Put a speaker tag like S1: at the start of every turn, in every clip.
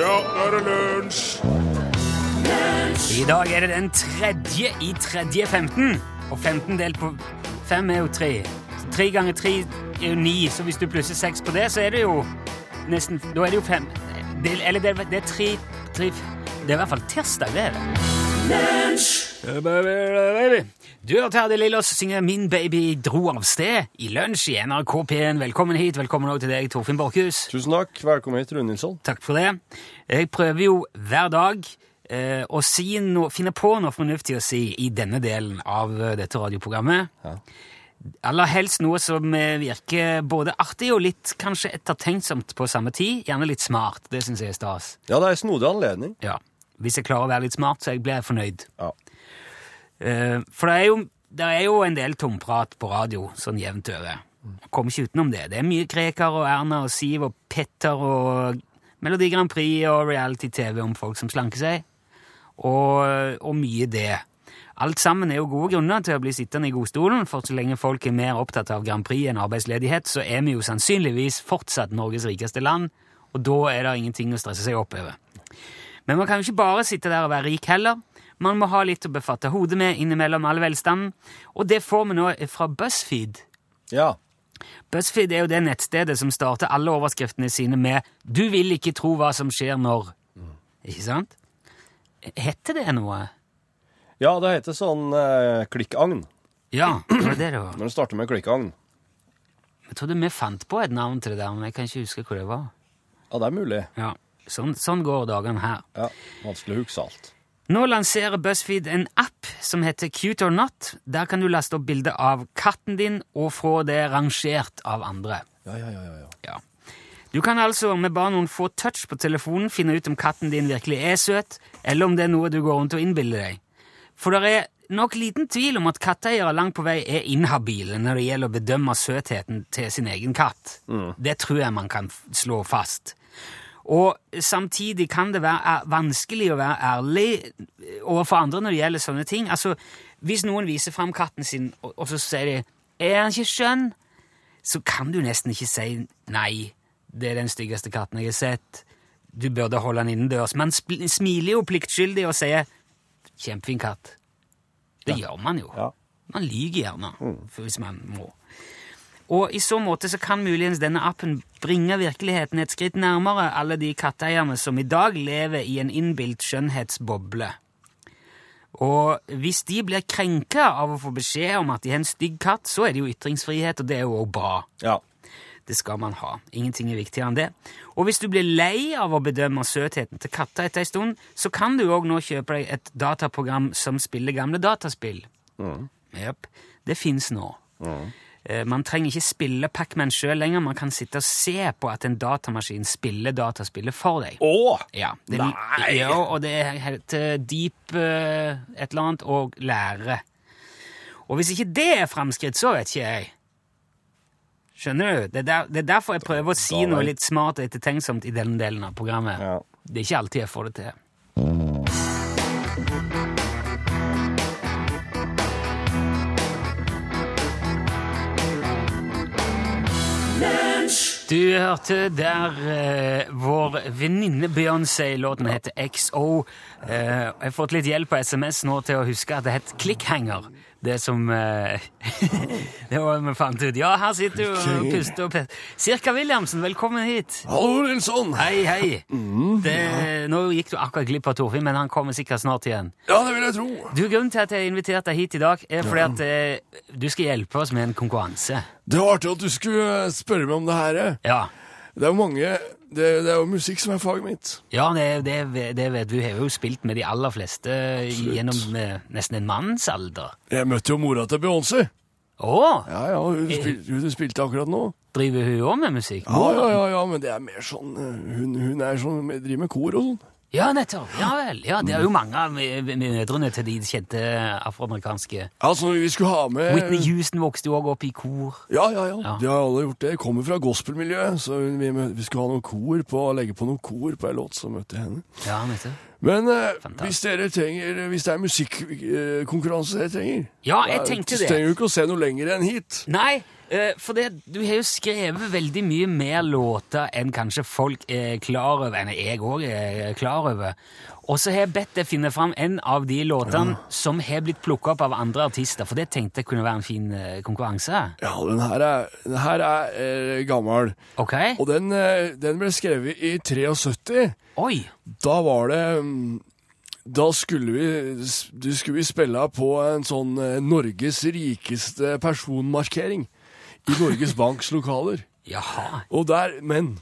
S1: Ja, nå er det lunsj!
S2: I dag er det den tredje i tredje 15. Og 15 delt på 5 er jo 3. Så 3 ganger 3 er jo 9, så hvis du plusser 6 på det, så er det jo nesten Da er det jo 5 det, Eller det, det er 3, 3 Det er i hvert fall tirsdag, det er det. Ja, baby, baby. Du hørte Herdi Lillås synge 'Min baby dro av sted' i lunsj i NRK P1. Velkommen hit. Velkommen også til deg, Torfinn Borchhus.
S3: Tusen takk. Velkommen hit, Rune Nilsson.
S2: Takk for det. Jeg prøver jo hver dag eh, å si noe, finne på noe fornuftig å si i denne delen av eh, dette radioprogrammet. Aller helst noe som eh, virker både artig og litt kanskje ettertenksomt på samme tid. Gjerne litt smart. Det syns jeg er stas.
S3: Ja, det er en snodig anledning.
S2: Ja. Hvis jeg klarer å være litt smart, så jeg blir jeg fornøyd.
S3: Ja.
S2: Eh, for det er, jo, det er jo en del tomprat på radio, sånn jevnt over. Jeg Kommer ikke utenom det. Det er mye Krekar og Erna og Siv og Petter og Melodi Grand Prix og reality-TV om folk som slanker seg, og, og mye det. Alt sammen er jo gode grunner til å bli sittende i godstolen, for så lenge folk er mer opptatt av Grand Prix enn arbeidsledighet, så er vi jo sannsynligvis fortsatt Norges rikeste land, og da er det ingenting å stresse seg opp over. Men man kan jo ikke bare sitte der og være rik heller. Man må ha litt å befatte hodet med innimellom all velstanden, og det får vi nå fra BuzzFeed.
S3: Ja.
S2: BuzzFeed er jo det nettstedet som starter alle overskriftene sine med 'Du vil ikke tro hva som skjer når'. Ikke sant? Heter det noe?
S3: ja, det heter sånn eh, klikkagn.
S2: Ja, det var det det var.
S3: Når du starter med klikkagn.
S2: Jeg trodde vi fant på et navn til det der, men jeg kan ikke huske hvor det var.
S3: Ja, det er mulig.
S2: Ja, Sånn, sånn går dagene her.
S3: Ja, Vanskelig å huske alt.
S2: Nå lanserer BuzzFeed en app som heter Cute or Not. Der kan du laste opp bilde av katten din og få det rangert av andre.
S3: Ja, ja, ja, ja, ja.
S2: Ja. Du kan altså med bare noen få touch på telefonen finne ut om katten din virkelig er søt, eller om det er noe du går rundt og innbiller deg. For det er nok liten tvil om at katteeiere langt på vei er inhabile når det gjelder å bedømme søtheten til sin egen katt. Det tror jeg man kan f- slå fast. Og samtidig kan det være er- vanskelig å være ærlig eh, overfor andre når det gjelder sånne ting. Altså, Hvis noen viser fram katten sin, og, og så sier de 'Er han ikke skjønn?' så kan du nesten ikke si 'nei, det er den styggeste katten jeg har sett'. Du burde holde den innendørs. Man spl- smiler jo pliktskyldig og sier 'kjempefin katt'. Det gjør man jo.
S3: Ja. Mm.
S2: Man lyver gjerne for hvis man må. Og i så måte så kan muligens denne appen bringe virkeligheten et skritt nærmere alle de katteeierne som i dag lever i en innbilt skjønnhetsboble. Og hvis de blir krenka av å få beskjed om at de har en stygg katt, så er det jo ytringsfrihet, og det er jo også bra.
S3: ja.
S2: Det skal man ha. Ingenting er viktigere enn det. Og hvis du blir lei av å bedømme søtheten til katter etter ei stund, så kan du òg nå kjøpe deg et dataprogram som spiller gamle dataspill. Jep. Det fins nå. Eh, Man trenger ikke spille Pacman sjøl lenger, man kan sitte og se på at en datamaskin spiller dataspillet for deg.
S3: Å!
S2: Ja, det,
S3: Nei!
S2: Ja, og det heter Deep eh, et eller annet og lære. Og hvis ikke det er framskritt, så vet ikke jeg. Skjønner du? Det er, der, det er derfor jeg prøver å si
S3: da
S2: noe
S3: vet-
S2: litt smart og ettertenksomt i den delen av programmet.
S3: Ja.
S2: Det er ikke alltid jeg får det til. Du hørte der eh, vår venninne Beyoncé, låten heter XO. Eh, jeg har fått litt hjelp på SMS nå til å huske at det het clickhanger. Det som eh, Det var vi fant ut. Ja, her sitter du og puster og puster. Sirka Williamsen, velkommen hit.
S3: Hallo, Nilsson!
S2: Hei, hei. det, nå gikk du akkurat glipp av Torfinn, men han kommer sikkert snart igjen.
S3: Ja, det vil jeg tro.
S2: Du, Grunnen til at jeg inviterte deg hit i dag, er fordi at eh, du skal hjelpe oss med en konkurranse.
S4: Det var artig at du skulle eh, spørre meg om det her. jeg.
S2: Ja,
S4: Det er jo mange det, det er jo musikk som er faget mitt.
S2: ja det, det, det vet du. har jo spilt med de aller fleste gjennom eh, nesten en manns alder.
S4: Jeg møtte jo mora til Beyoncé.
S2: Å!
S4: Ja, ja, hun, spil, hun spilte akkurat nå.
S2: Driver hun òg med musikk?
S4: Ja, ja, ja, ja, men det er mer sånn eh, Hun, hun er sånn, driver med kor og sånn.
S2: Ja, nettopp. Ja vel. Ja, det er jo mange av eh, mødrene til de kjente afroamerikanske.
S4: Altså, vi skulle ha med
S2: Whitney Houston vokste jo òg opp i kor.
S4: Ja, ja, ja.
S2: Ja.
S4: De har alle gjort det. Jeg kommer fra gospelmiljøet, så hun- vi, mø- vi skulle ha noen kor på, legge på noen kor på en låt, så møtte jeg henne.
S2: Ja, nettopp.
S4: Men eh,
S2: Fantastisk.
S4: hvis dere trenger Hvis det er musikkonkurranse dere trenger
S2: Ja, jeg
S4: da-
S2: tenkte
S4: Så
S2: det.
S4: trenger du ikke å se noe lenger enn hit.
S2: Nei, Eh, For det, du har jo skrevet veldig mye mer låter enn kanskje folk er klar over, enn jeg òg er eh, klar over. Og så har jeg bedt deg finne fram en av de låtene som har blitt plukka opp av andre artister, for det tenkte jeg kunne være en fin eh, konkurranse.
S4: Ja, den her er, den her er eh, gammel.
S2: Ok?
S4: Og den, eh, den ble skrevet i 73.
S2: Oi!
S4: Da var det mm, Da skulle vi, s- du skulle vi spille på en sånn eh, Norges rikeste personmarkering. I Norges Banks lokaler.
S2: Jaha.
S4: Og der, men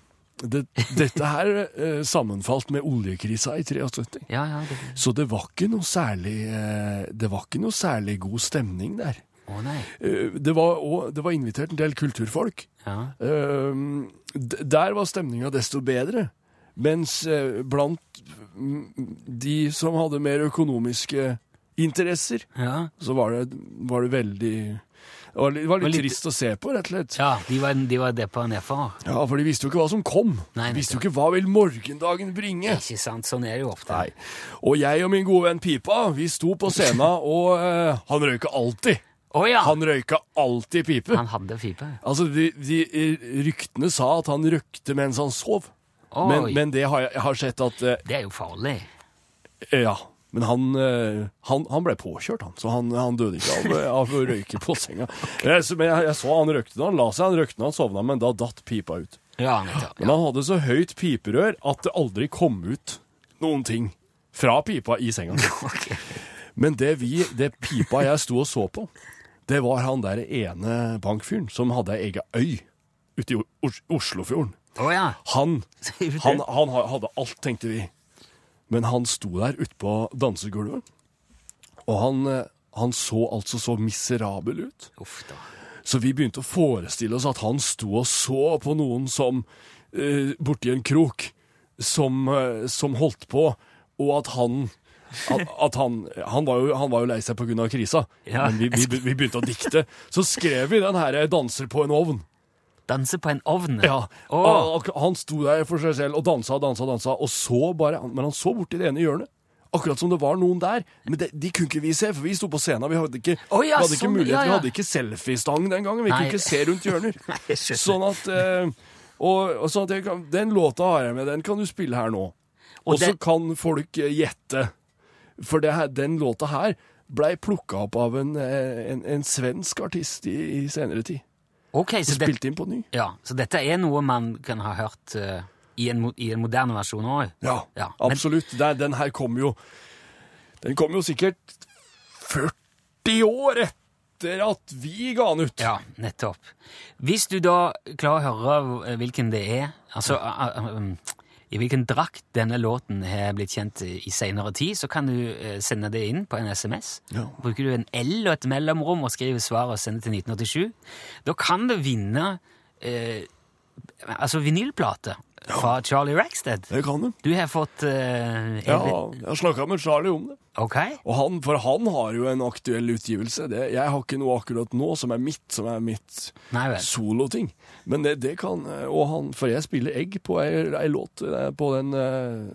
S4: det, dette her eh, sammenfalt med oljekrisa i 73.
S2: Ja, ja. det-
S4: Så det var ikke noe særlig eh, Det var ikke noe særlig god stemning der.
S2: Å nei.
S4: Eh, det, var, og, det var invitert en del kulturfolk.
S2: Ja.
S4: Eh, d- der var stemninga desto bedre. Mens eh, blant mm, de som hadde mer økonomiske interesser,
S2: ja.
S4: så var det, var det veldig det var, litt, det var litt
S2: litt-
S4: trist å se på, rett og slett.
S2: Ja, de var, de var deppa nedfor.
S4: Ja, for de visste jo ikke hva som kom.
S2: Nei,
S4: de visste jo ikke hva vil morgendagen bringe.
S2: Ikke sant? Sånn er det jo ofte.
S4: Nei. Og jeg og min gode venn Pipa, vi sto på scenen, og eh, han røyka alltid.
S2: Å ja! Han,
S4: Han røyka alltid pipe.
S2: hadde pipe.
S4: Altså, de, de, ryktene sa at han røykte mens han sov.
S2: Oi.
S4: Men, men det har jeg jeg har sett at eh,
S2: Det er jo farlig.
S4: Ja. Men han, eh, han, han ble påkjørt, han. Så han, han døde ikke av, av å røyke på senga. Jeg, så- men jeg, jeg så han røykte da han la seg, han røykte da han sovna, men da datt pipa ut.
S2: Ja, nettopp.
S4: Men han hadde så høyt piperør at det aldri kom ut noen ting fra pipa i senga. Men det, vi, det pipa jeg sto og så på, det var han der ene bankfyren som hadde ei ega øy ute i O- Os- Oslofjorden.
S2: Å ja.
S4: Han,
S2: Sier du det?
S4: han, han ha- hadde alt, tenkte vi. Men han sto der ute på dansegulvet, og han, eh, han så altså så miserabel ut.
S2: Uff da.
S4: Så vi begynte å forestille oss at han sto og så på noen som eh, borti en krok, som, eh, som holdt på, og at han at, at han, han, var jo, han var jo lei seg pga. krisa,
S2: Ja.
S4: men vi, vi, vi begynte å dikte. Så skrev vi den her 'Danser på en ovn'.
S2: Danse på en ovn?
S4: Ja.
S2: Å,
S4: Og Han sto der for seg selv og dansa og dansa, og dansa, og så bare, men han så borti det ene hjørnet. Akkurat som det var noen der. Men det, de kunne ikke vi se, for vi sto på scenen. Vi hadde ikke,
S2: Å, ja,
S4: vi hadde ikke
S2: sånn,
S4: mulighet,
S2: ja, ja.
S4: vi hadde ikke selfiestang den gangen. Vi
S2: Nei.
S4: kunne ikke se rundt hjørner.
S2: jeg skjønner.
S4: sånn at, eh, og, og sånn at jeg kan, Den låta har jeg med, den kan du spille her nå. Og så
S2: det-
S4: kan folk eh, gjette. For det her, den låta her blei plukka opp av en, eh, en, en svensk artist i, i senere tid.
S2: ok, så, det,
S4: Spilte inn på ny.
S2: ja, så dette er noe man kan ha hørt eh, i, en, mo- i en moderne versjon òg?
S4: Ja,
S2: Ja, men-
S4: absolutt. Den, den her kom jo Den kom jo sikkert 40 år etter at vi ga den ut.
S2: Ja, nettopp. Hvis du da klarer å høre eh, hvilken det er, altså eh, eh, um, i hvilken drakt denne låten har blitt kjent i i senere tid, så kan du eh, sende det inn på en SMS.
S4: Ja.
S2: Bruker du en L og et mellomrom og skriver svaret og sender til 1987, da kan du vinne eh, altså vinylplate fra Charlie Rackstead.
S4: Det kan den.
S2: Du har fått eh,
S4: Ja,
S2: en-
S4: jeg har snakka med Charlie om det.
S2: Ok?
S4: Og han, for han har jo en aktuell utgivelse. Det, jeg har ikke noe akkurat nå som er mitt, som er mitt
S2: Nei vel.
S4: soloting. Men det, det kan eh, Og han For jeg spiller egg på ei, ei låt eh, på den eh,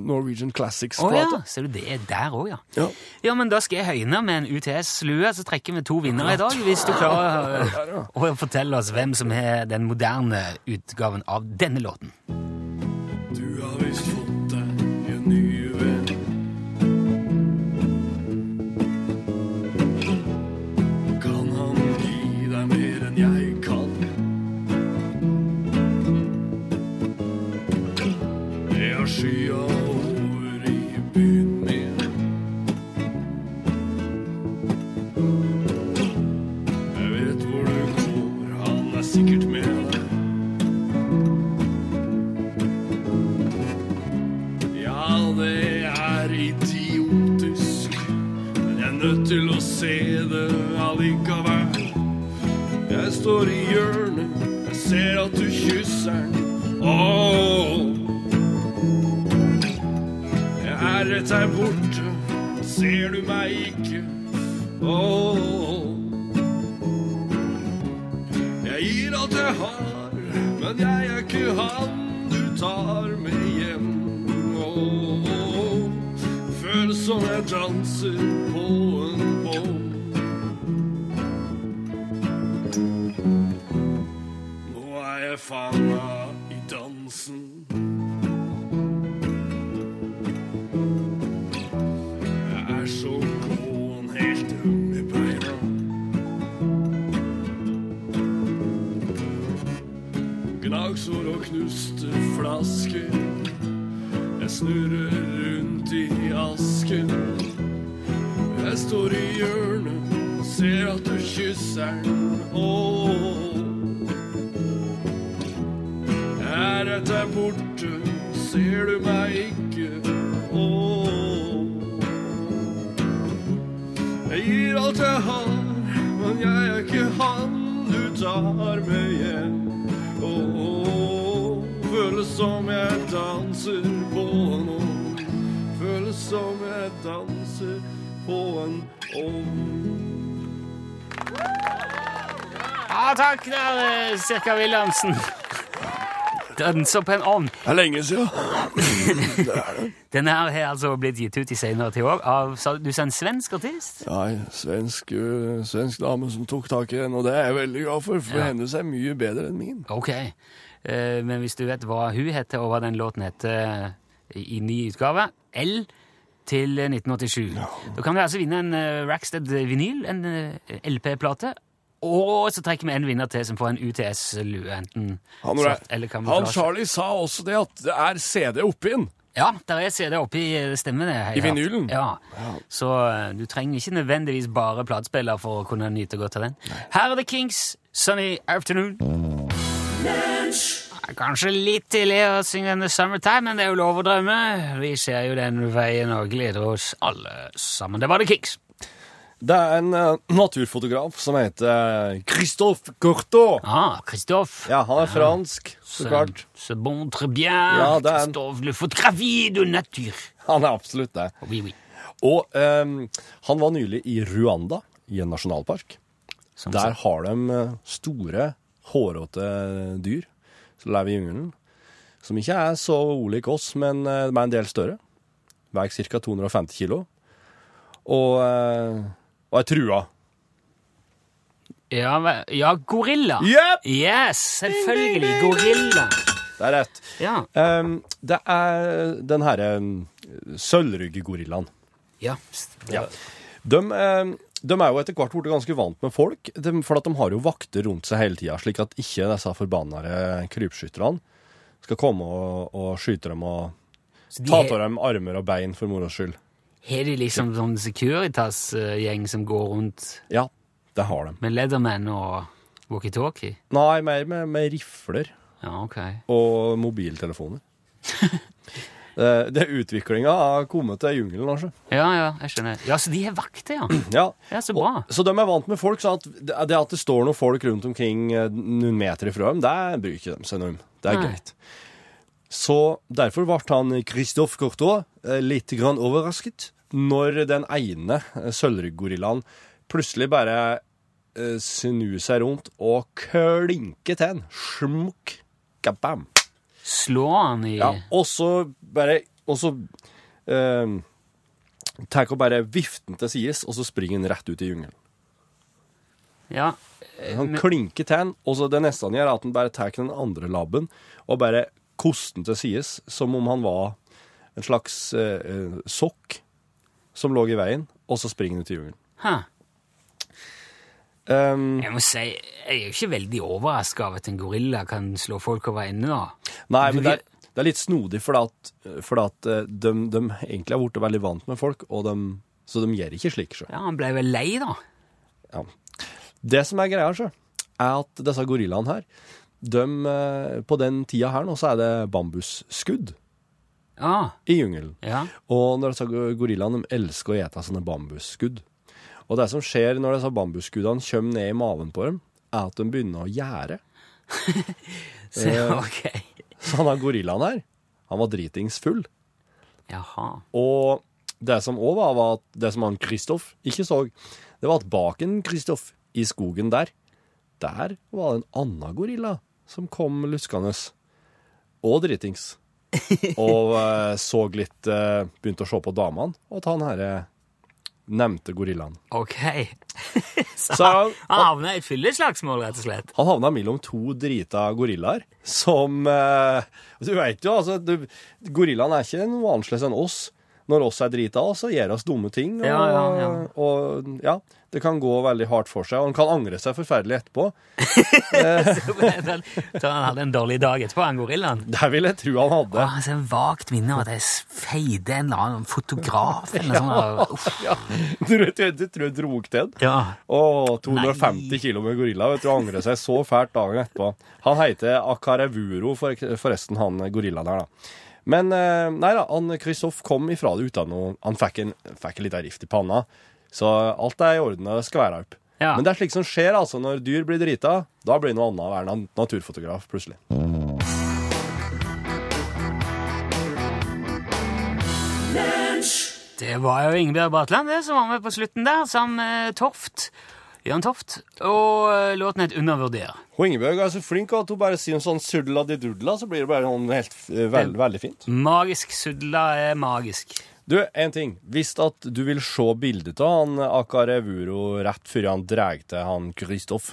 S4: Norwegian
S2: Å ja,
S4: Classics-plata.
S2: ser du det er der òg, ja.
S4: ja.
S2: Ja, men da skal jeg høyne med en UTS-lue, så trekker vi to vinnere i dag, hvis du klarer å, å fortelle oss hvem som har den moderne utgaven av denne låten.
S4: Du har visst fått deg en ny venn. Kan han gi deg mer enn jeg kan? Jeg har skya over i byen min. Jeg vet hvor du går, han er sikkert med deg. Ja, det er idiotisk, men jeg er nødt til å se det allikevel. Jeg står i hjørnet, jeg ser at du kysser den. Åh! Jeg er rett her borte, ser du meg ikke? Åh! Jeg gir alt jeg har, men jeg er ikke han du tar med hjem. Åh, føles som jeg danser på en båt. halsen. Jeg er så kån, helt øm i beina. Gnagsår og knuste flasker. Jeg snurrer rundt i asken. Jeg står i hjørnet, ser at du kysser den. Åh. Er dette borte, ser du meg ikke? Åh. Jeg gir alt jeg har, men jeg er ikke han du tar med hjem. Åh. Føles som jeg danser på en ånd. Føles som jeg danser på en ånd.
S2: Ja, takk der, eh, Sirka Wilhelmsen. Danser på en ovn.
S4: Det er lenge siden.
S2: Denne her har altså blitt gitt ut i senere til år av sa du sa en svensk artist?
S4: Ja, en svensk, ø, svensk dame som tok tak i den, og det er jeg veldig glad for, for
S2: Ja.
S4: hennes er mye bedre enn min.
S2: Ok. Eh, men hvis du vet hva hun heter, og hva den låten heter eh, i i ny utgave, L til 1987, da kan du altså vinne en eh, Rackstead-vinyl, en eh, LP-plate. Og så trekker vi en vinner til som får en UTS-lue, enten
S4: Han,
S2: svart eller
S4: han
S2: kamuflasje.
S4: Charlie sa også det at det er CD oppi den.
S2: Ja, der er CD oppi stemmen. eh,
S4: I vinylen?
S2: Ja. Så eh, du trenger ikke nødvendigvis bare platespiller for å kunne nyte godt av den. Her er The Kings, 'Sunny Afternoon'. Ja, Kanskje litt tidlig å synge The Summertime, men det er jo lov å drømme. Vi ser jo den veien og gleder oss alle sammen. Det var The Kings.
S4: Det er en ø, naturfotograf som heter eh, Christophe Courteau.
S2: Ah, Christophe.
S4: Ja, han er fransk, så
S2: C'est-
S4: klart.
S2: C'est bon, très bien.
S4: Ja, det er en-
S2: Christophe, le photographie de nature.
S4: Han er absolutt det.
S2: Oui, oui.
S4: Og ø, han var nylig i Rwanda, i en nasjonalpark.
S2: Som
S4: Der har de eh, store, hårete dyr som lever i jungelen. Som ikke er så ulik oss, men eh, de er en del større. Veier ca. 250 kilo. Og, eh, og er trua.
S2: Ja, hva- ja gorilla.
S4: Jepp!
S2: Yes, selvfølgelig. Gorilla.
S4: Det er rett.
S2: Ja.
S4: Em, Ehm, det er den herre eh, sølvryggegorillaen.
S2: ja.
S4: Ja. De, eh, de er jo etter hvert blitt ganske vant med folk, de, for at de har jo vakter rundt seg hele tida, slik at ikke disse forbanna krypskytterne skal komme og, og skyte dem og
S2: Så
S4: ta av
S2: de,
S4: dem armer og bein for moro skyld.
S2: har de liksom sånn Securitas-gjeng som går rundt
S4: Ja, det har de.
S2: med Leatherman og walkietalkie?
S4: Nei, mer med, med rifler
S2: Ja, ok.
S4: og mobiltelefoner. Eh, det er utviklinga har kommet til jungelen, altså.
S2: Ja, ja, jeg skjønner. Ja, så de har vakter, ja.
S4: Ja.
S2: Ja, Så bra.
S4: Så de er vant med folk, så at det det at det står noen folk rundt omkring eh, noen meter ifra dem, det bryr ikke de seg noe om. Det er
S2: Nei.
S4: greit. Så derfor ble han eh, Christophe Courtois eh, litt grann overrasket når den ene eh, sølvryggorillaen plutselig bare eh, snur seg rundt og klinker til en. Smukk. Kabam.
S2: Slå han i
S4: Ja, og så bare Og så eh, tar og bare vifter den til sides, og så springer den rett ut i jungelen.
S2: Ja.
S4: Han klinker til den, og så det neste han gjør, er at han bare tar den andre labben og bare koster den til sides, som om han var en slags eh, eh, sokk som lå i veien, og så springer han ut i jungelen.
S2: Hæ.
S4: Ehm,
S2: Jeg må si, jeg er jo ikke veldig overraska av at en gorilla kan slå folk over ende, da.
S4: nei,
S2: Du
S4: men det er, det er litt snodig, for at, fordi at eh, de, de egentlig har blitt veldig vant med folk, og de, så de gjør ikke slik. Så.
S2: Ja, Han ble vel lei, da.
S4: Ja. Det som er greia, sjø, er at disse gorillaene her, de, eh, på den tida her nå, så er det bambusskudd
S2: Ja.
S4: i jungelen.
S2: ja.
S4: Og når disse go- gorillaene de elsker å ete sånne bambusskudd. Og det som skjer når disse bambusskuddene kommer ned i maven på dem, er at de begynner å gjære.
S2: Så, ok.
S4: Så han har gorillaen her. Han var dritings full.
S2: Jaha.
S4: Og det som òg var, var at det som han Kristoff ikke så, det var at bak en Kristoff i skogen der, der var det en annen gorilla som kom luskende. Og dritings. Og eh, så litt eh, Begynte å se på damene og ta den herre nevnte gorillaen.
S2: Ok. Så
S4: Så
S2: han
S4: han-
S2: havna i et fylleslagsmål, rett og slett.
S4: Han havna mellom to drita gorillaer som eh, Du veit jo, altså du, Gorillaen er ikke noe annerledes enn oss. Når oss er drita, så gjør oss dumme ting. Og,
S2: Ja, ja, ja.
S4: og ja, det kan gå veldig hardt for seg, og han kan angre seg forferdelig etterpå.
S2: Så han hadde en dårlig dag etterpå, han gorillaen.
S4: Det vil jeg tro han hadde.
S2: Åh, så en vagt minne om at jeg feide en eller annen fotograf eller noe sånt. Uff.
S4: Ja, du, vet, du, du tror jeg drog til den?
S2: Ja.
S4: Å, 250
S2: Nei.
S4: kilo med gorilla. Vet du, og angrer seg så fælt dagen etterpå. Han heter Akarevuro, for, forresten, han gorilla der, da. Men eh, nei da, han Kristoff kom ifra det uten noe Han fikk en, fikk en liten rift i panna. Så alt er i orden og skal være opp.
S2: Ja.
S4: Men det er slikt som skjer altså når dyr blir drita. Da blir det noe annet å være nat- naturfotograf plutselig.
S2: Det var jo Ingebjørg Bratland det, som var med på slutten der, sammen med Toft. Jørn Toft. Og eh, låten het Undervurder.
S4: Og Ingebjørg er så flink at hun bare sier en sånn suddla-di-dudla, så blir det bare sånn helt, eh, veld, veldig fint.
S2: Magisk sudla er magisk.
S4: Du, en ting. Hvis at du vil se bildet av han Akarevuro rett før han drar til han Kristoff,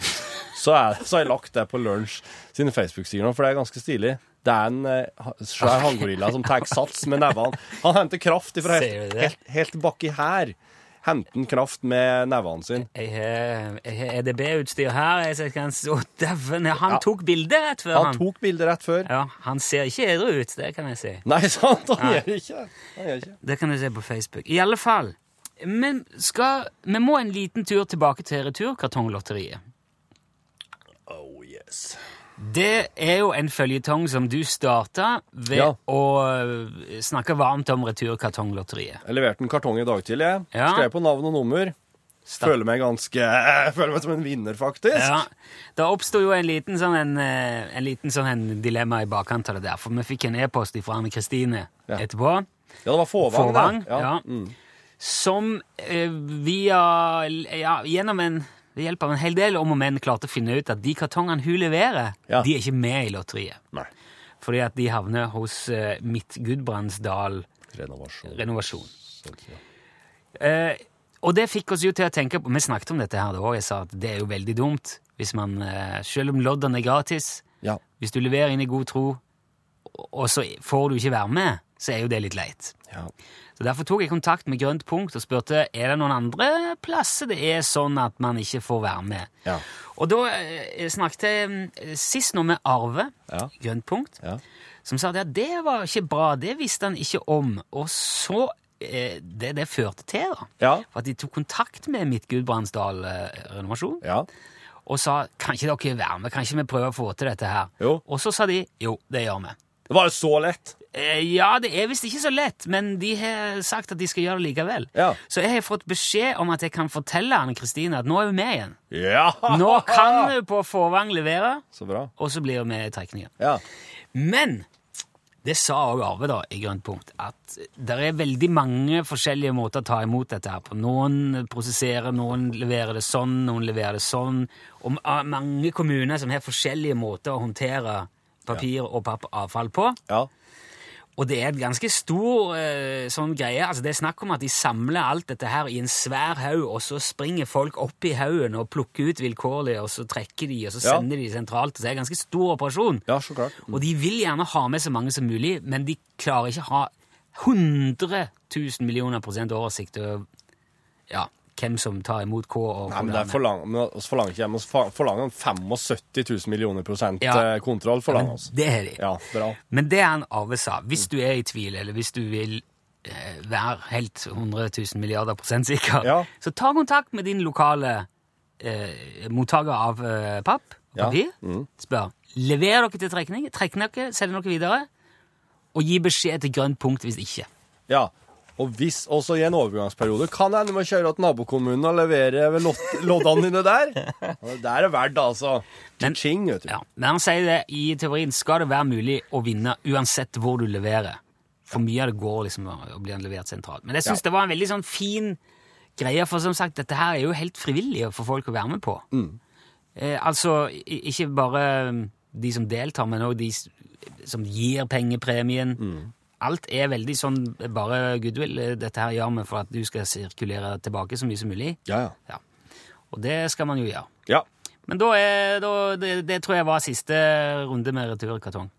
S4: så er- så har jeg lagt det på Lunsj sine Facebook-sider nå, for det er ganske stilig. Det er en eh, ha- svær hanngorilla som tar sats med nevene. Han henter kraft ifra
S2: Ser
S4: helt,
S2: du det?
S4: helt, helt bakki her. Henter han kraft med nevene sine.
S2: Jeg har- jeg har EDB-utstyr her. Jeg ser, kan, å, dæven, ja, han tok bilde rett før
S4: Han
S2: han.
S4: tok bildet rett før.
S2: Ja, han ser ikke edru ut, det kan jeg si.
S4: Nei, sant? Han gjør ikke det. Han gjør ikke det.
S2: Det kan du se på Facebook. I alle fall. Men skal, vi må en liten tur tilbake til Returkartonglotteriet.
S4: Oh yes.
S2: Det er jo en føljetong som du starta ved
S4: Ja.
S2: å øh, snakke varmt om Returkartonglotteriet.
S4: Jeg leverte en kartong i dag tidlig. jeg.
S2: Ja.
S4: Skrev på navn og nummer. Føler meg ganske Føler meg som en vinner, faktisk.
S2: Ja, Det oppsto jo en liten sånn, en, eh, en liten sånn en dilemma i bakkant av det der, for vi fikk en e-post fra Anne Kristine
S4: Ja.
S2: etterpå.
S4: Ja, det var Fåvang.
S2: Forvang,
S4: det.
S2: ja. Som eh, via ja, Gjennom en ved hjelp av en hel del om og men klarte å finne ut at de kartongene hun leverer,
S4: Ja.
S2: de er ikke med i lotteriet.
S4: Nei.
S2: Fordi at de havner hos eh, Midt Gudbrandsdal
S4: Renovasjon. sånn
S2: Renovasjon.
S4: sånt, ja.
S2: Eh, og det fikk oss jo til å tenke på Vi snakket om dette her da òg. Jeg sa at det er jo veldig dumt hvis man eh, Selv om loddene er gratis,
S4: ja.
S2: hvis du leverer inn i god tro, og- og så får du ikke være med, så er jo det litt leit.
S4: ja.
S2: Så Derfor tok jeg kontakt med Grønt Punkt og spurte er det noen andre plasser det er sånn at man ikke får være med.
S4: Ja.
S2: Og da eh, snakket jeg eh, sist nå med Arve,
S4: Ja.
S2: Grønt Punkt,
S4: Ja.
S2: som sa at ja, det var ikke bra, det visste han ikke om. Og så eh, Det det førte til, da,
S4: Ja.
S2: var at de tok kontakt med Midt Gudbrandsdal eh, Renovasjon
S4: ja.
S2: og sa kan ikke dere være med, kan ikke vi prøve å få til dette her?
S4: Jo.
S2: Og så sa de jo, det gjør vi.
S4: Det var jo så lett!
S2: Eh, Ja, det er visst ikke så lett, men de har sagt at de skal gjøre det likevel.
S4: Ja.
S2: Så jeg har fått beskjed om at jeg kan fortelle Anne Kristine at nå er hun med igjen.
S4: Ja!
S2: Nå kan hun på Forvang levere,
S4: Så bra.
S2: og så blir hun med i trekningen.
S4: Ja.
S2: Men det sa òg Arve da, i Grønt punkt, at det er veldig mange forskjellige måter å ta imot dette her på. Noen prosesserer, noen leverer det sånn, noen leverer det sånn. Og ma- mange kommuner som har forskjellige måter å håndtere papir og pappavfall på.
S4: ja.
S2: Og det er et ganske stor eh, sånn greie. Altså, det er snakk om at de samler alt dette her i en svær haug, og så springer folk opp i haugen og plukker ut vilkårlig, og så trekker de, og så
S4: Ja.
S2: sender de sentralt. Så det er en ganske stor operasjon.
S4: Ja, så klart.
S2: Og de vil gjerne ha med så mange som mulig, men de klarer ikke ha 100 000 millioner prosent oversikt over ja, hvem som tar imot hva. Og
S4: Nei, men
S2: hvordan
S4: det er forlang, men oss forlanger ikke men oss fa- forlanger en 75 000 millioner prosent
S2: Ja.
S4: eh, kontroll. forlanger oss.
S2: det er de.
S4: Ja, bra.
S2: Men det han Arve sa, hvis du er i tvil, eller hvis du vil eh, være helt 100 000 milliarder prosent sikker,
S4: Ja.
S2: så ta kontakt med din lokale eh, mottaker av eh, papp og
S4: Ja. Mm.
S2: papir. Spør. Leverer dere til trekning? Trekk dere, selg dere videre. Og gi beskjed til grønt punkt hvis ikke.
S4: Ja. Og hvis også i en overgangsperiode kan hende med å kjøre til nabokommunen og levere ved lot- loddene dine der. Og det der er verdt, altså.
S2: Men-
S4: Ching, vet du.
S2: Ja. Men han sier det i teorien skal det være mulig å vinne uansett hvor du leverer. For mye av det går liksom å bli levert sentralt. Men jeg syns det var en veldig sånn fin greie, for som sagt, dette her er jo helt frivillig for folk å være med på. Eh, altså i- um, ikke bare de som deltar, men òg de s- som gir pengepremien. alt er veldig sånn bare goodwill. Eh, Dette her gjør vi for at du skal sirkulere tilbake så mye som mulig.
S4: Ja, ja.
S2: Ja. Og det skal man jo gjøre.
S4: Ja.
S2: Men da er, da, det, det tror jeg var siste runde med returkartong.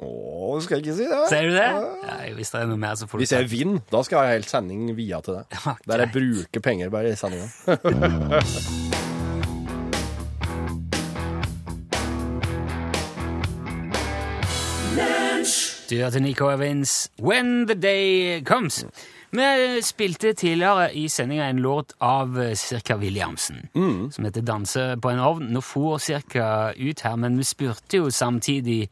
S4: Å, skal jeg ikke si det?
S2: Ser du det? Ja, hvis det er noe mer, så får du
S4: Hvis jeg vinner, da skal jeg ha helt sending via til det.
S2: Ja,
S4: Der jeg bruker penger bare i sendinga.
S2: Du hørte Nico Evans' When the Day Comes. Vi spilte tidligere i sendinga en låt av eh, Cirka Williamsen
S4: Mm.
S2: som heter Danse på en ovn. Nå for Cirka ut her, men vi spurte jo samtidig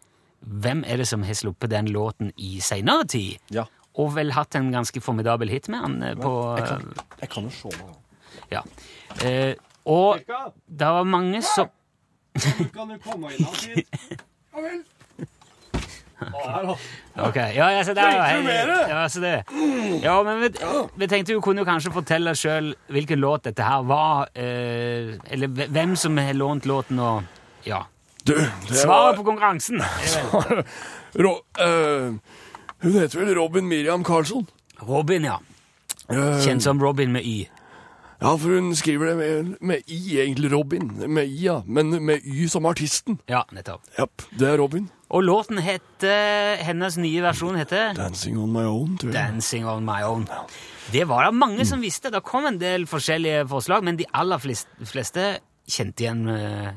S2: hvem er det som har sluppet den låten i seinere tid?
S4: Ja.
S2: Og vel hatt en ganske formidabel hit med han eh, på
S4: Jeg kan jo se meg.
S2: Ja. Eh, og det var mange som
S4: Kan du komme inn hit? Ja vel.
S2: Ok, ja, ja, se der. ja, hei,
S4: Gratulerer!
S2: Ja, se det. Ja, men vi, vi tenkte jo kunne jo kanskje fortelle sjøl hvilken låt dette her var, eh, eller hve- hvem som har lånt låten og Ja.
S4: Du, det
S2: Svaret på konkurransen!
S4: Ro eh, Hun heter vel Robin Miriam Karlsson?
S2: Robin, ja.
S4: Eh,
S2: Kjent som Robin med Y.
S4: ja, for hun skriver det med, med I, egentlig. Robin. Med I, ja. Men med Y som artisten.
S2: Ja, nettopp.
S4: Japp, det er Robin.
S2: Og låten heter Hennes nye versjon heter
S4: 'Dancing on my own', tror jeg.
S2: 'Dancing on my own'. Det var det mange som visste. Det kom en del forskjellige forslag, men de aller fleste, fleste kjente igjen eh,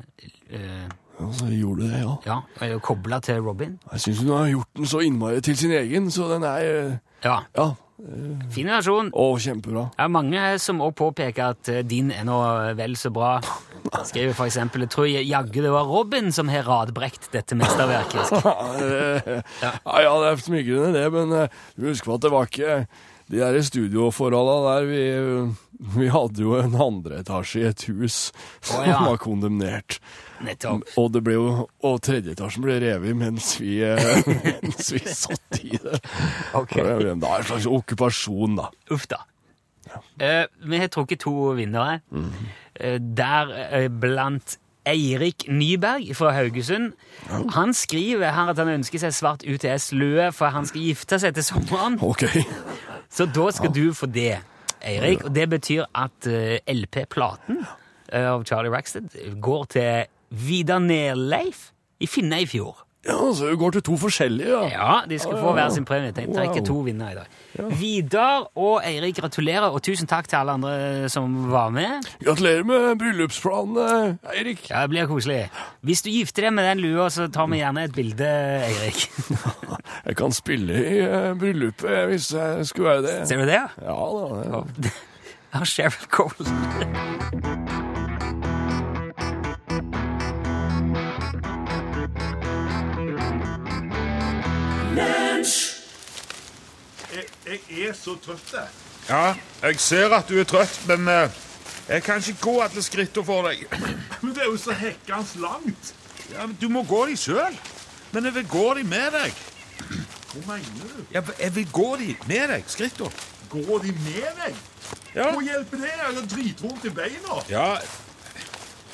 S2: eh,
S4: Ja, så gjorde det, ja.
S2: Ja, kobla til Robin.
S4: Jeg syns hun har gjort den så innmari til sin egen, så den er eh,
S2: Ja,
S4: Ja,
S2: Fin versjon.
S4: å, kjempebra.
S2: Det er mange som også påpeker at eh, din er nå vel så bra. Skriver for eksempel, jeg tror jeg- jaggu det var Robin som har radbrekt dette mesterverket.
S4: ja, ja, det er smigrende det, men eh, du husker på at det var ikke de der studioforholda der vi, vi hadde jo en andre etasje i et hus som
S2: Å, ja.
S4: var kondemnert.
S2: Nettopp.
S4: Og det ble jo Og tredje etasjen ble revet mens vi, eh, mens vi satt i det.
S2: Ok.
S4: Det er en slags okkupasjon, da.
S2: Uff da. Eh, vi har trukket to vinnere. Eh, der eh, blant Eirik Nyberg fra Haugesund. Han skriver her at han ønsker seg svart UTS-lue, for han skal gifte seg til sommeren.
S4: Ok.
S2: Så da skal du få det, Eirik. Og det betyr at eh, LP-platen eh, av Charlie Rackstead går til Vidar Nerleif i Finneidfjord.
S4: Ja, så vi går til to forskjellige, ja.
S2: Ja, de skal
S4: Å,
S2: få
S4: ja.
S2: hver sin premie. Tenk, det er ikke
S4: Wow.
S2: to vinnere i dag. Vidar og Eirik, gratulerer, og tusen takk til alle andre som var med.
S4: Gratulerer med bryllupsplanen, eh, Eirik.
S2: Ja, Det blir koselig. Hvis du gifter deg med den lua, så tar vi gjerne et bilde, Eirik.
S4: Jeg kan spille i eh, bryllupet hvis jeg skulle være det.
S2: Ser du det? ja?
S4: Ja da. det-
S2: Ja, Sheriff Cole.
S1: Jeg, jeg er så trøtt, jeg.
S5: Ja, jeg ser at du er trøtt, men eh, jeg kan ikke gå alle skrittene for deg.
S1: Men det er jo så hekkans langt.
S5: Ja, men du må gå de sjøl. Men jeg vil gå de med deg.
S1: Hva mener du?
S5: Jeg, jeg vil gå de med deg, skrittene.
S1: Går de med deg?
S5: Ja.
S1: Hva hjelper det? Jeg har dritvondt i beina.
S5: ja.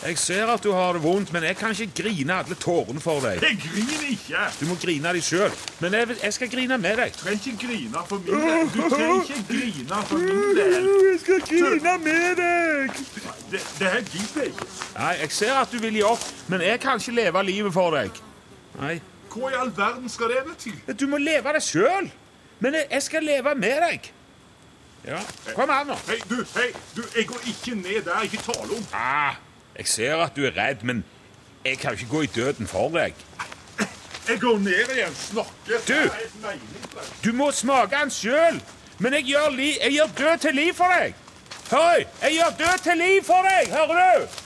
S5: Jeg ser at du har det vondt, men jeg kan ikke grine alle tårene for deg.
S1: Jeg griner ikke.
S5: Du må grine de sjøl. Men jeg, vil, jeg skal grine med deg.
S1: Du trenger ikke grine for min del. Du trenger ikke grine for min del.
S5: Jeg skal grine med deg.
S1: Det, det her gidder jeg ikke.
S5: Nei, jeg ser at du vil gi opp, men jeg kan ikke leve livet for deg. Nei.
S1: Hva i all verden skal det bety?
S5: Du må leve det sjøl. Men jeg, jeg skal leve med deg. Ja. Kom her, nå.
S1: Hei, du, hei, du, jeg går ikke ned der. Ikke tale om.
S5: Ah, jeg ser at du er redd, men jeg kan jo ikke gå i døden for deg.
S1: Jeg går ned igjen. Snakkes.
S5: Du!
S1: Det er helt meningsløst.
S5: Du må smake den sjøl, men jeg gjør, li jeg gjør død til liv for deg. Høy, jeg gjør død til liv for deg, hører du?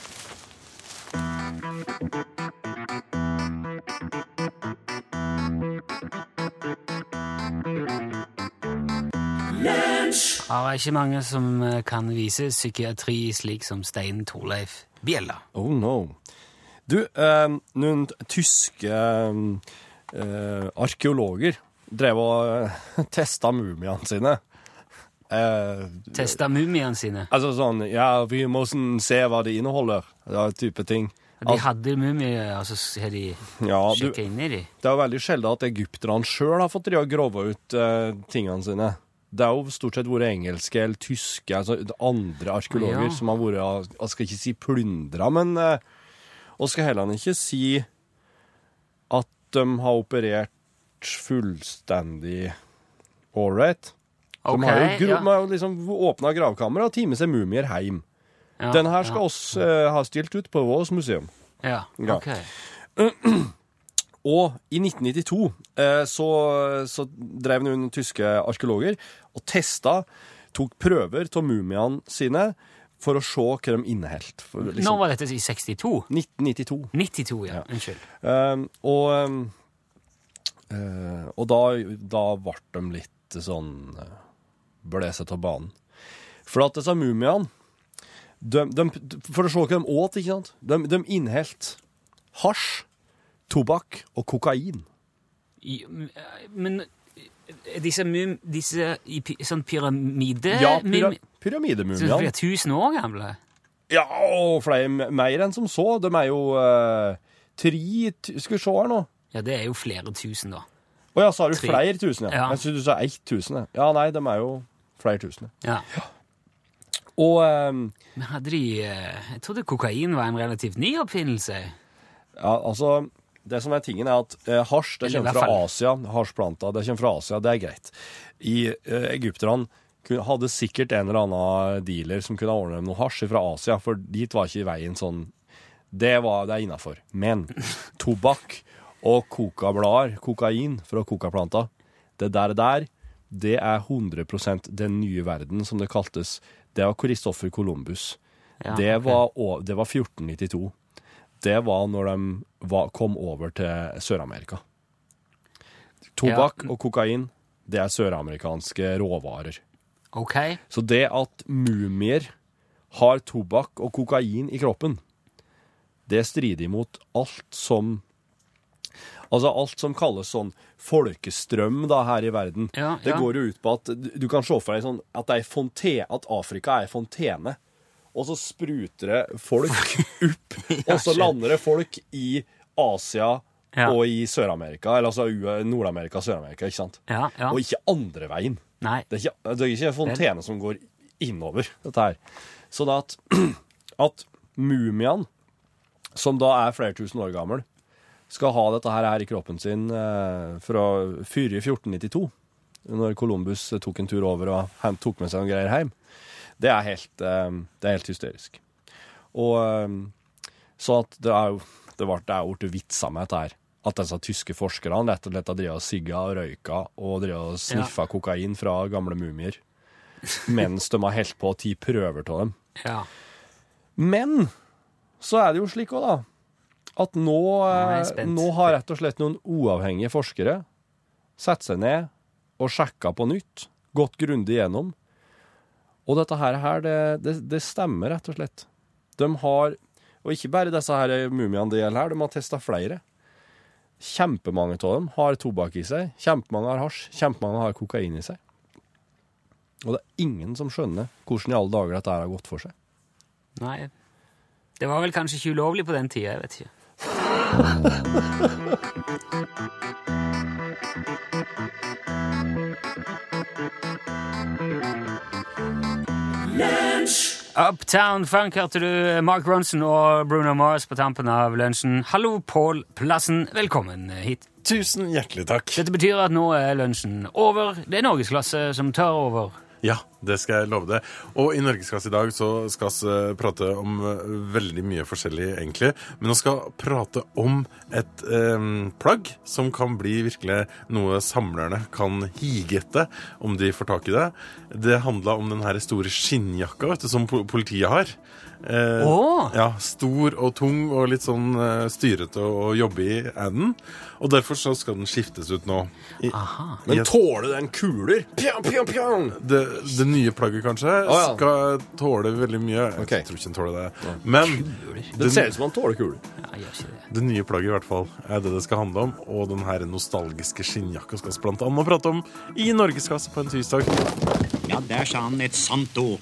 S2: Ja, Det er ikke mange som eh, kan vise psykiatri slik som Stein Torleif Bjella.
S4: Oh no. Du, eh, noen tyske eh, eh, arkeologer drev og eh, testa mumiene sine. Eh,
S2: Testa mumiene sine.
S4: sånn altså sånn Ja, vi må se hva det inneholder. Ja, type ting.
S2: De hadde mumier, og så har de
S4: Ja, du,
S2: sjekka inn i de.
S4: det er jo veldig sjelden at egypterne sjøl har fått drive og grove ut eh, tingene sine. Det er jo stort sett vært engelske eller tyske, altså det andre arkeologer
S2: Ja.
S4: som har vært Jeg skal ikke si plyndra, men eh, Og skal heller ikke si at de har operert fullstendig ålreit. De
S2: Ok,
S4: har jo, gro-
S2: ja.
S4: de har jo liksom åpna gravkammeret og tatt med seg mumier hjem.
S2: Ja,
S4: Den her skal oss eh, ha stilt ut på vårt museum.
S2: Ja,
S4: Ja. Liksom-
S2: ok.
S4: Og i 1992 eh, så, så drev noen tyske arkeologer og testa, tok prøver av mumiene sine for å se hva de inneholdt. For
S2: Nå
S4: Liksom,
S2: var dette i 62?
S4: 1992.
S2: 92, ja. Unnskyld.
S4: Um, og um, eh, og da, da ble de litt sånn eh, blåset av banen. For at disse mumiene de, de, For å se hva de åt, ikke sant? De, de inneholdt hasj, tobakk og kokain.
S2: I- mm, Men eh, disse, mum, disse i pi- sånn pyramide...
S4: Ja, pyra
S2: mum- Som blir
S4: pyramidemumiene.
S2: 1000 år gamle?
S4: Ja, og flere mer enn som så. De er jo eh, tre tu- Skal vi se her nå.
S2: Ja, det er jo flere tusen, da.
S4: Å ja, sa du
S2: Tre.
S4: flere tusen? Ja.
S2: Ja.
S4: Jeg synes du sa ett tusen. ja. Ja, nei, de er jo flere tusen. ja.
S2: Ja.
S4: Og eh,
S2: Men hadde de eh, Jeg trodde kokain var en relativt ny oppfinnelse.
S4: Ja, altså Det som er tingen, er at eh, hasj det
S2: Eller i
S4: kommer
S2: hvert
S4: fra
S2: fall-
S4: Asia. Hasjplanta det kommer fra Asia, det er greit. I eh, Egypterne kun- hadde sikkert en eller annen dealer som kunne ordne dem noe hasj fra Asia, for dit var ikke veien sånn Det var det er innafor. Men tobakk og kokablader, kokain fra kokaplanta, det der, der, det er 100 den nye verden, som det kaltes. Det var Christoffer Columbus.
S2: Ja,
S4: det,
S2: ok.
S4: var, å- det var 1492 det var når de var, kom over til Sør-Amerika. Tobakk og kokain, det er søramerikanske råvarer.
S2: Ok?
S4: Så det at mumier har tobakk og kokain i kroppen, det strider imot alt som Altså alt som kalles sånn folkestrøm da her i verden.
S2: Ja,
S4: det
S2: ja.
S4: går jo ut på at du du kan se for deg sånn at, det er fonte, at Afrika er ei fontene. Og så spruter det folk opp, og så
S2: shit.
S4: lander det folk i Asia
S2: Ja.
S4: og i Sør-Amerika. Eller altså U- Nord-Amerika og Sør-Amerika, ikke sant?
S2: Ja, ja.
S4: Og ikke andre veien.
S2: Nei.
S4: Det er ikke, det er ikke en fontene som går innover, dette her. Så da at, at mumien, som da er flere tusen år gammel, skal ha dette her, her i kroppen sin eh, fra fyr i 1492, når Columbus eh, tok en tur over og han tok med seg noen greier hjem, det er helt, eh, det er helt hysterisk. Og eh, så at det er jo det var- det er jo blitt vitsa med dette her. At disse tyske forskerne rett og slett har drevet og sigga og røyka og drevet og sniffa kokain fra gamle mumier. Mens de har holdt på å ti prøver av dem.
S2: Ja.
S4: Men så er det jo slik òg, da, at nå,
S2: er jeg
S4: eh,
S2: spent.
S4: nå har rett og slett noen uavhengige forskere satt seg ned og sjekka på nytt, gått grundig gjennom. Og dette her, her det, det, det stemmer rett og slett. De har, og ikke bare disse her mumiene det gjelder her, de har testa flere. Kjempemange av dem har tobakk i seg, kjempemange har hasj, kjempemange har kokain i seg. Og det er ingen som skjønner hvordan i alle dager dette her har gått for seg.
S2: Nei. Det var vel kanskje ikke ulovlig på den tida, jeg vet ikke. Uptown Funk hørte du Mark Ronson og Bruno Mars på tampen av lunsjen. Hallo, Pål Plassen. Velkommen hit.
S6: Tusen hjertelig takk.
S2: Dette betyr at nå er lunsjen over. Det er norgesklasse som tar over.
S6: Ja, det skal jeg love deg. Og i Norgesklasse i dag så skal vi eh, prate om eh, veldig mye forskjellig, egentlig. Men vi skal prate om et eh, plagg som kan bli virkelig noe samlerne kan hige etter om de får tak i det. Det handla om den her store skinnjakka vet du, som po- politiet har. Eh,
S2: Åh!
S6: Ja, Stor og tung og litt sånn eh, styrete å jobbe i er den. Og derfor så skal den skiftes ut nå. I, i
S4: Men
S6: et-
S4: tåler den kuler? Pjong, pjong, pjong!
S6: det, det nye plagget kanskje
S4: ja.
S6: skal tåle veldig mye. Jeg
S4: Ok.
S6: tror ikke den tåler det. Men
S4: Det ser ut
S6: det,
S4: som han tåler kuler.
S2: Ja, jeg gjør ikke det.
S6: det nye plagget i hvert fall er det det skal handle om. Og den her nostalgiske skinnjakka skal vi blant annet prate om i Norgeskasse på en tirsdag.
S7: Ja, der sa han et sant ord.